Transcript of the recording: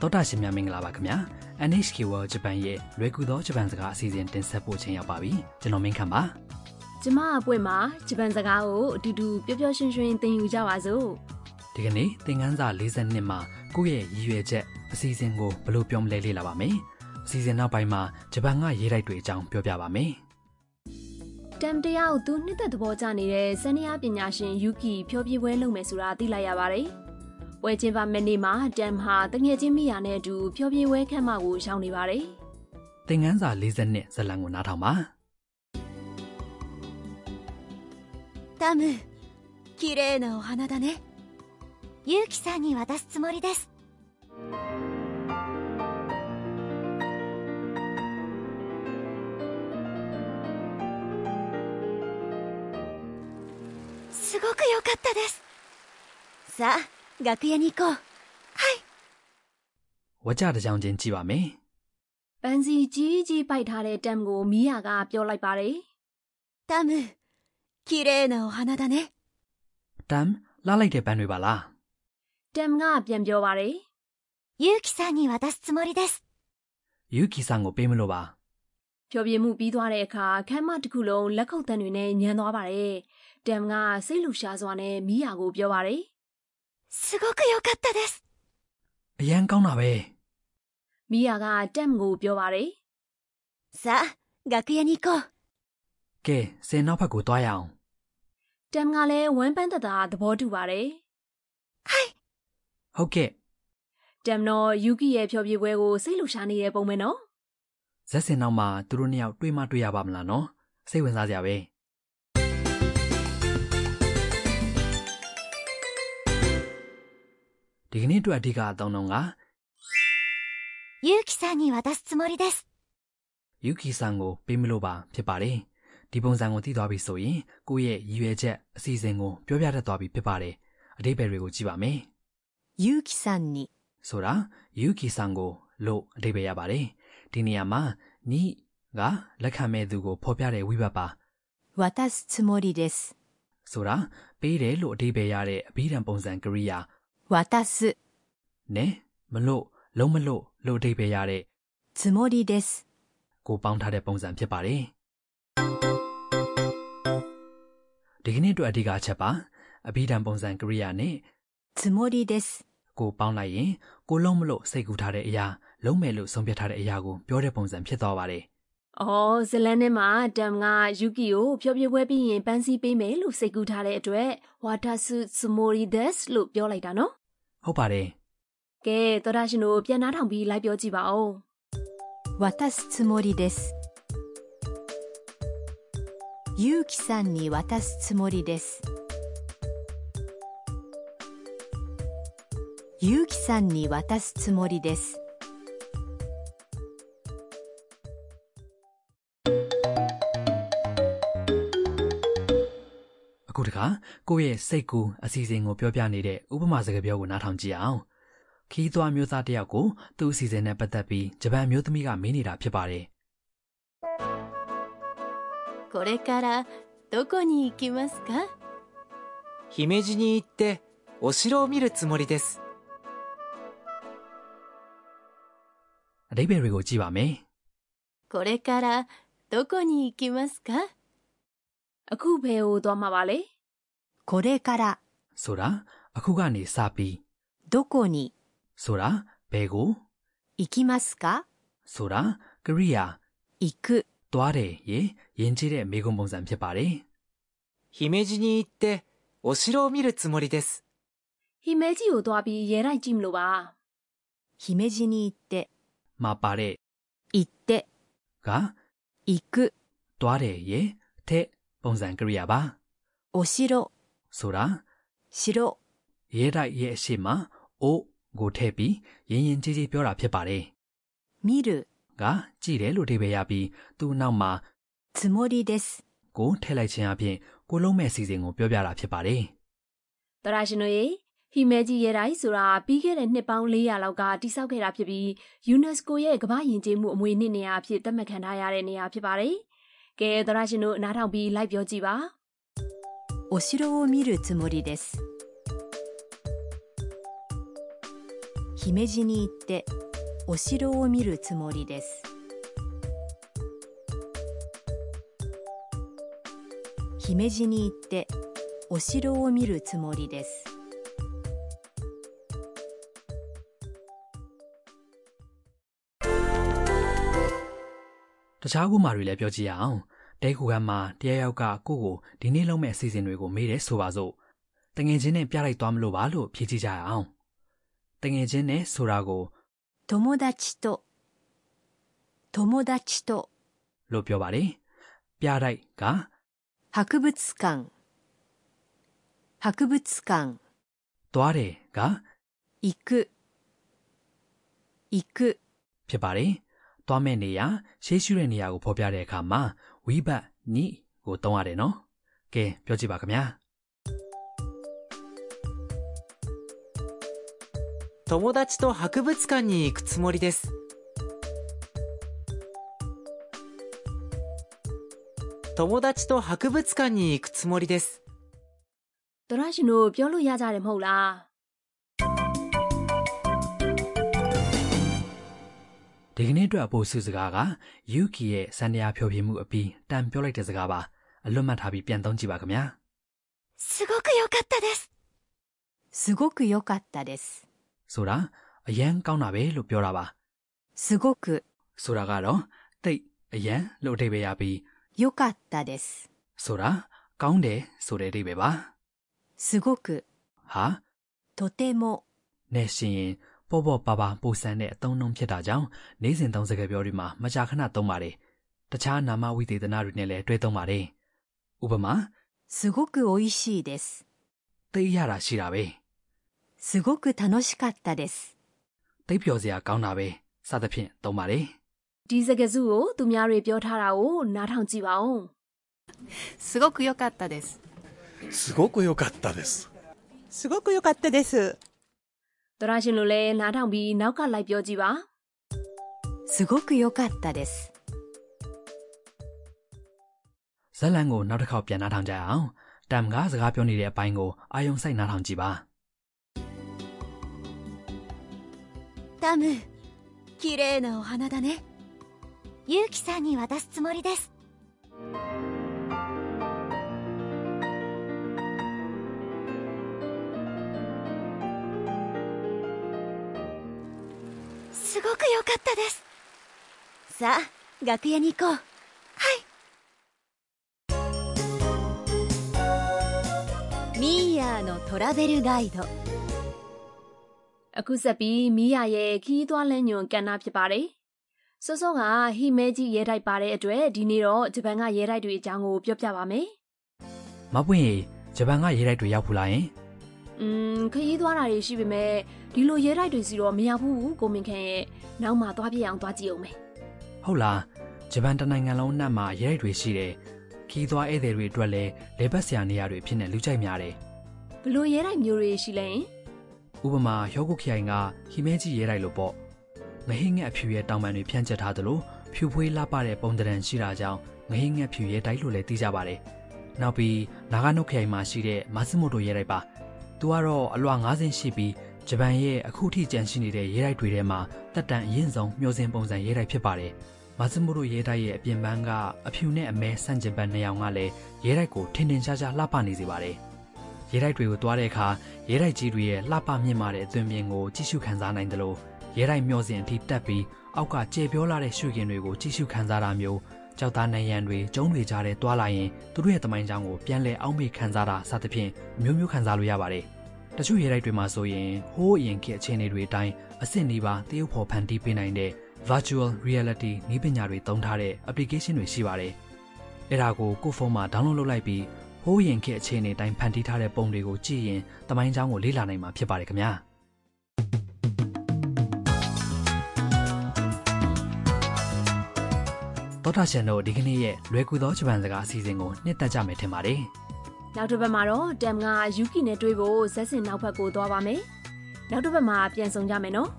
တောတာရှင်များမင်္ဂလာပါခင်ဗျာ NHK World Japan ရဲ့လွယ်ကူသောဂျပန်စကားအစီအစဉ်တင်ဆက်ဖို့ချိန်ရောက်ပါပြီကျွန်တော်မင်းခမ်းပါ ကျမအပွင့်မှာဂျပန်စကားကိုအတူတူပျော်ပျော်ရွှင်ရွှင်သင်ယူကြပါစို့ ဒီကနေ့သင်ခန်းစာ42မှာကိုယ့်ရဲ့ရည်ရွယ်ချက်အစီအစဉ်ကိုဘယ်လိုပြောမလဲလေ့လာပါမယ်အစီအစဉ်နောက်ပိုင်းမှာဂျပန်ကရေးတိုက်တွေအကြောင်းပြောပြပါမယ် တမ်တရားကိုသူနှစ်သက်သဘောကျနေတဲ့စန္ဒယာပညာရှင်ယူကီဖျော်ပြပွဲလုပ်မယ်ဆိုတာသိလိုက်ရပါတယ်ပွဲချင်းပါမနေ့မှာတမ်ဟာတငယ်ချင်းမိယာနဲ့အတူဖျော်ပြပွဲခန်းမကိုရောက်နေပါတယ် သင်ခန်းစာ42ဇာတ်လမ်းကိုနားထောင်ပါ タム綺麗なお花だねユウキさんに渡すつもりですすごく良かったですさあ楽屋に行こう ဝါကြတစ်ကြောင်ချင်းကြည့်ပါမယ် ပန်စီကြီးကြီးပိုက်ထားတဲ့တမ်ကိုမိယာကပြောလိုက်ပါတယ် タム綺麗なお花だね တမ်လာလိုက်တဲ့ပန်းတွေပါလား တမ်ကပြန်ပြောပါတယ် ユウキさんに渡すつもりです ယူကီဆန်ကိုပေးမလို့ပါ ဖျော်ပြမှုပြီးသွားတဲ့အခါခန်းမတစ်ခုလုံးလက်ခုပ်တံတွေနဲ့ညံသွားပါတယ်တမ်ကစိတ်လှူရှားစွာနဲ့မိယာကိုပြောပါတယ် すごく良かったです အရန်ကောင်းတာပဲ မိယာကတက်မကိုပြောပါတယ် さあ楽屋に行こう ကဲဆယ်နောက်ဘက်ကိုသွားရအောင် ။တက်မကလည်းဝမ်းပန်းတသာသဘောတူပါတယ် ဟုတ်ကဲ့ ။တက်မတော့ယူကီရဲ့ဖြောပြပွဲကိုစိတ်လှူရှားနေတဲ့ပုံပဲနော် ဇက်စင်နောက်မှာသူတို့နှစ်ယောက်တွေ့မှတွေ့ရပါမလားနော်စိတ်ဝင်စားစရာပဲ ဒီကနေ့အတွက်အဓိကအသုံးတော့က ユウキさんに渡すつもりです ယူကီဆန်ကိုပေးမလို့ပါဖြစ်ပါတယ်ဒီပုံစံကိုသိသွားပြီဆိုရင်ကိုယ့်ရဲ့ရည်ရွယ်ချက်အစီအစဉ်ကိုပြောပြတတ်သွားပြီဖြစ်ပါတယ်အတိပ္ပယ်တွေကိုကြည့်ပါမယ် ユウキさんに ဆိုတာယူကီဆန်ကိုလို့အတိပ္ပယ်ရပါတယ်ဒီနေရာမှာညီကလက်ခံမဲ့သူကိုဖော်ပြတဲ့ဝိဘတ်ပါ 渡すつもりです ဆိုတာပေးတယ်လို့အတိပ္ပယ်ရတဲ့အဘိဓမ္မပုံစံကရိယာ 渡す နဲ့မလို့လုံးမလို့လို့အတိပ္ပယ်ရတဲ့ つもりです ကိုပေါင်းထားတဲ့ပုံစံဖြစ်ပါတယ်။ဒီကနေ့အတွက်အဓိကအချက်ပါအဘိဓမ္မပုံစံကရိယာနဲ့ つもりです ကိုပေါင်းလိုက်ရင်ကိုလုံးမလို့စိတ်ကူထားတဲ့အရာလုံးမယ်လို့ဆုံးဖြတ်ထားတဲ့အရာကိုပြောတဲ့ပုံစံဖြစ်သွားပါတယ် ။အော်ဇလန်နဲ့မှာတက်မကယူကီကိုဖြောပြပွဲပြီးရင်ပန်းစီပေးမယ်လို့စိတ်ကူးထားတဲ့အတွက် water suit smori des လို့ပြောလိုက်တာနော် ။ဟုတ်ပါတယ် ။ကဲသောတာရှင်တို့ပြန်နှားထောင်ပြီးလိုက်ပြောကြည့်ပါဦး 渡すつもりですユウキさんに渡すつもりですユウキさんに渡すつもりです ။အခုတခါကိုယ့်ရဲ့စိတ်ကူအစီအစဉ်ကိုပြောပြနေတဲ့ဥပမာစကားပြောကိုနားထောင်ကြည့်အောင်။ခီးသွွားမျိုးသားတစ်ယောက်ကိုသူ့အစီအစဉ်နဲ့ပတ်သက်ပြီးဂျပန်မျိုးသမီးကမေးနေတာဖြစ်ပါတယ် これからどこに行きますか姫路に行ってお城を見るつもりです ။အတိပ္ပယ်တွေကိုကြည့်ပါမယ်။ これからどこに行きますか ။အခုဘယ်ဟိုသွားမှာပါလဲ これから ဆိုတာအခုကနေစပြီး どこに ဆိုတာဘယ်ကို 行きますか ဆိုတာကရိယာ 行く သွားတယ်ရေယဉ်ကျေးတဲ့မိဂုံပုံစံဖြစ်ပါတယ် 姫路に行ってお城を見るつもりです ။ဟီမဲကြီးကိုသွားပြီးရဲတိုက်ကြည့်မလို့ပါ 姫路に行って မှာပါတဲ့ 行って က 行く သွားတယ်ရေတဲ့ပုံစံကရိယာပါ お城 ဆိုတာ 城 ရဲတိုက်ရဲ့အရှိမအိုကိုထည့်ပြီးယဉ်ယဉ်ကျေးကျေးပြောတာဖြစ်ပါတယ် 見る ကကြည့်တယ်လို့အဓိပ္ပာယ်ရပြီးသူ့နောက်မှာ つもりです ကိုထည့်လိုက်ခြင်းအပြင်ကိုလုံးမဲ့အစီအစဉ်ကိုပြောပြတာဖြစ်ပါတယ် ။သောတာရှင်တို့ရေဟီမဲကြီးရဲတိုက်ဆိုတာပြီးခဲ့တဲ့နှစ်ပေါင်း400လောက်ကတိစောက်ခဲ့တာဖြစ်ပြီး UNESCO ရဲ့ကမ္ဘာယဉ်ကျေးမှုအမွေအနှစ်နေရာအဖြစ်သတ်မှတ်ခံထားရတဲ့နေရာဖြစ်ပါတယ်။ကဲသောတာရှင်တို့နားထောင်ပြီးလိုက်ပြောကြည့်ပါ お城を見るつもりです姫路に行ってお城を見るつもりです姫路に行ってお城を見るつもりです တခြားဥပမာတွေလည်းပြောကြည့်ရအောင်တဲခုကမှာတရားရောက်ကကိုယ့်ကိုဒီနေ့လုံးမဲ့အစီအစဉ်တွေကိုမေးတယ်ဆိုပါစို့တငယ်ချင်းနဲ့ပြလိုက်သွားမလို့ပါလို့ဖြေကြည့်ကြရအောင်တငယ်ချင်းနဲ့ဆိုတာကို 友達と友達と လို့ပြောပါတယ်ပြတိုက်က 博物館博物館 သွားတယ်က 行く行く ဖြစ်ပါတယ်သွားမဲ့နေရာရှေးရှုတဲ့နေရာကိုဖော်ပြတဲ့အခါမှာဝိဘတ်ညိကိုသုံးရတယ်နော်ကဲပြောကြည့်ပါခင်ဗျာ 友達と博物館に行くつもりです友達と博物館に行くつもりです တရရှင်တို့ပြောလို့ရကြတယ်မဟုတ်လား ဒီကနေ့အတွက်အပိုစုစကားကယူကီရဲ့စန္ဒရာဖြောပြမှုအပြီးတန်ပြောလိုက်တဲ့စကားပါအလွတ်မှတ်ထားပြီးပြန်သုံးကြည့်ပါခင်ဗျာ すごく良かったですすごく良かったです ဆိုတာအရန်ကောင်းတာပဲလို့ပြောတာပါ すごく ဆိုတာကတော့တိတ်အရန်လို့အဓိပ္ပာယ်ရပြီး 良かったです ဆိုတာကောင်းတယ်ဆိုတဲ့အဓိပ္ပာယ်ပါ すごく ဟာ とても နဲ့ရှင်ရင်ပေါ့ပေါ့ပါပါပုံစံတဲ့အသုံးအနှုန်းဖြစ်တာကြောင့်နေစဉ်သုံးစကားပြောတွေမှာမကြာခဏသုံးပါတယ်တခြားနာမဝိသေသနာတွေနဲ့လည်းတွဲသုံးပါတယ်ဥပမာ すごく美味しいです တိတ်ရတာရှိတာပဲ すごく楽しかったです တိတ်ပျော်စရာကောင်းတာပဲစသဖြင့်သုံးပါတယ် ဒီစကားစုကိုသူများတွေပြောထားတာကိုနားထောင်ကြည့်ပါဦး すごく良かったですすごく良かったです。すごく良かったです တရရှင်တို့လည်းနားထောင်ပြီးနောက်ကလိုက်ပြောကြည့်ပါ すごく良かったです ဇက်လန်ကိုနောက်တစ်ခေါက်ပြန်နှားထောင်ကြအောင်တမ်ကစကားပြောနေတဲ့အပိုင်းကိုအာယုံစိုက်နှားထောင်ကြည့်ပါ タム綺麗なお花だねユウキさんに渡すつもりですすごく良かったですさあ楽屋に行こうはいミーヤーのトラベルガイド အခုဆက်ပြီးမီးရရဲ့ခီးသွွားလန်းညွန်ကန်နာဖြစ်ပါတယ်စောစောကဟီမဲကြီးရဲတိုက်ပါတဲ့အတွက်ဒီနေ့တော့ဂျပန်ကရဲတိုက်တွေအကြောင်းကိုပြောပြပါမယ် မပွင့်ရင်ဂျပန်ကရေတိုက်တွေရောက်ဖူးလားယင် อืมခရီးသွားတာတွေရှိပေမဲ့ဒီလိုရဲတိုက်တွေစီတော့မရဘူးကိုမင်ခန့်ရဲ့နောက်မှသွားပြအောင်သွားကြည့်အောင်မယ် ဟုတ်လားဂျပန်တစ်နိုင်ငံလုံးနဲ့မှာရေတိုက်တွေရှိတယ်ခီးသွားဧည့်သည်တွေအတွက်လည်းလေပတ်ဆရာနေရာတွေဖြစ်နေလူကြိုက်များတယ် ဘလို့ရဲတိုက်မျိုးတွေရှိလဲ ဥပမာယောဂုတ်ခရိုင်ကဟီမဲကြီးရေတိုက်လို့ပေါ့ငဟိငက်အဖြူရဲ့တောင်ပံတွေဖြန့်ကျက်ထားသလိုဖြူဖွေးလှပတဲ့ပုံသဏ္ဍန်ရှိတာကြောင့်ငဟိငက်ဖြူရေတိုက်လို့လည်းသိကြပါတယ်နောက်ပြီးနာဂနုတ်ခရိုင်မှာရှိတဲ့မာစမိုတိုရေတိုက်ပါသူကတော့အလွှာ90ဆင်းရှိပြီးဂျပန်ရဲ့အခုထိကျန်ရှိနေတဲ့ရေတိုက်တွေထဲမှာတက်တန်အရင်ဆုံးမျိုးစင်ပုံစံရေတိုက်ဖြစ်ပါတယ် မဆမိုတို့ရဲတိုက်ရဲ့အပြင်ပန်းကအဖြူနဲ့အမဲဆန့်ကျင်ဘက်နှစ်ယောက်ကလည်းရဲတိုက်ကိုထင်ထင်ရှားရှားလှပနေစေပါတယ်။ရဲတိုက်တွေကိုတွားတဲ့အခါရဲတိုက်ကြီးတွေရဲ့လှပမြင့်မာတဲ့အသွင်ပြင်ကိုကြည့်ရှုခန်းစားနိုင်သလိုရဲတိုက်မျောစဉ်အထိတက်ပြီးအောက်ကကျေပြောလာတဲ့ရှုခင်တွေကိုကြည့်ရှုခန်းစားတာမျိုးကြောက်သားနိုင်ရန်တွေကျုံးတွေကြားတဲ့တွားလာရင်သူတို့ရဲ့တမိုင်းချောင်းကိုပြန်လဲအောက်မေ့ခန်းစားတာစသဖြင့်အမျိုးမျိုးခန်းစားလို့ရပါတယ်။တချို့ရဲတိုက်တွေမှာဆိုရင်ဟိုးအရင်ခေတ်အခြေအနေတွေအတိုင်းအစ်စ်နေပါတရုပ်ဖော်ဖန်တီးပေးနိုင်တဲ့ virtual reality နည်းပညာတွေသုံးထားတဲ့ application တွေရှိပါတယ်။အဲဒါကိုကိုယ့်ဖုန်းမှာ download လုပ်လိုက်ပြီးဟိုးရင်ခေတ်အခြေအနေတိုင်းဖန်တီးထားတဲ့ပုံတွေကိုကြည့်ရင်တမိုင်းချောင်းကိုလေ့လာနိုင်မှာဖြစ်ပါတယ်ခင်ဗျာ။တော်တာရှင်တို့ဒီကနေ့ရဲ့လွယ်ကူသောဂျပန်စကားအစီအစဉ်ကိုနှစ်သက်ကြမယ်ထင်ပါတယ်။ နောက်တစ်ပတ်မှာတော့တမ်ကယူကီနဲ့တွေ့ဖို့ဇက်စင်နောက်ဘက်ကိုသွားပါမယ်နောက်တစ်ပတ်မှာပြန်ဆောင်ကြမယ်နော်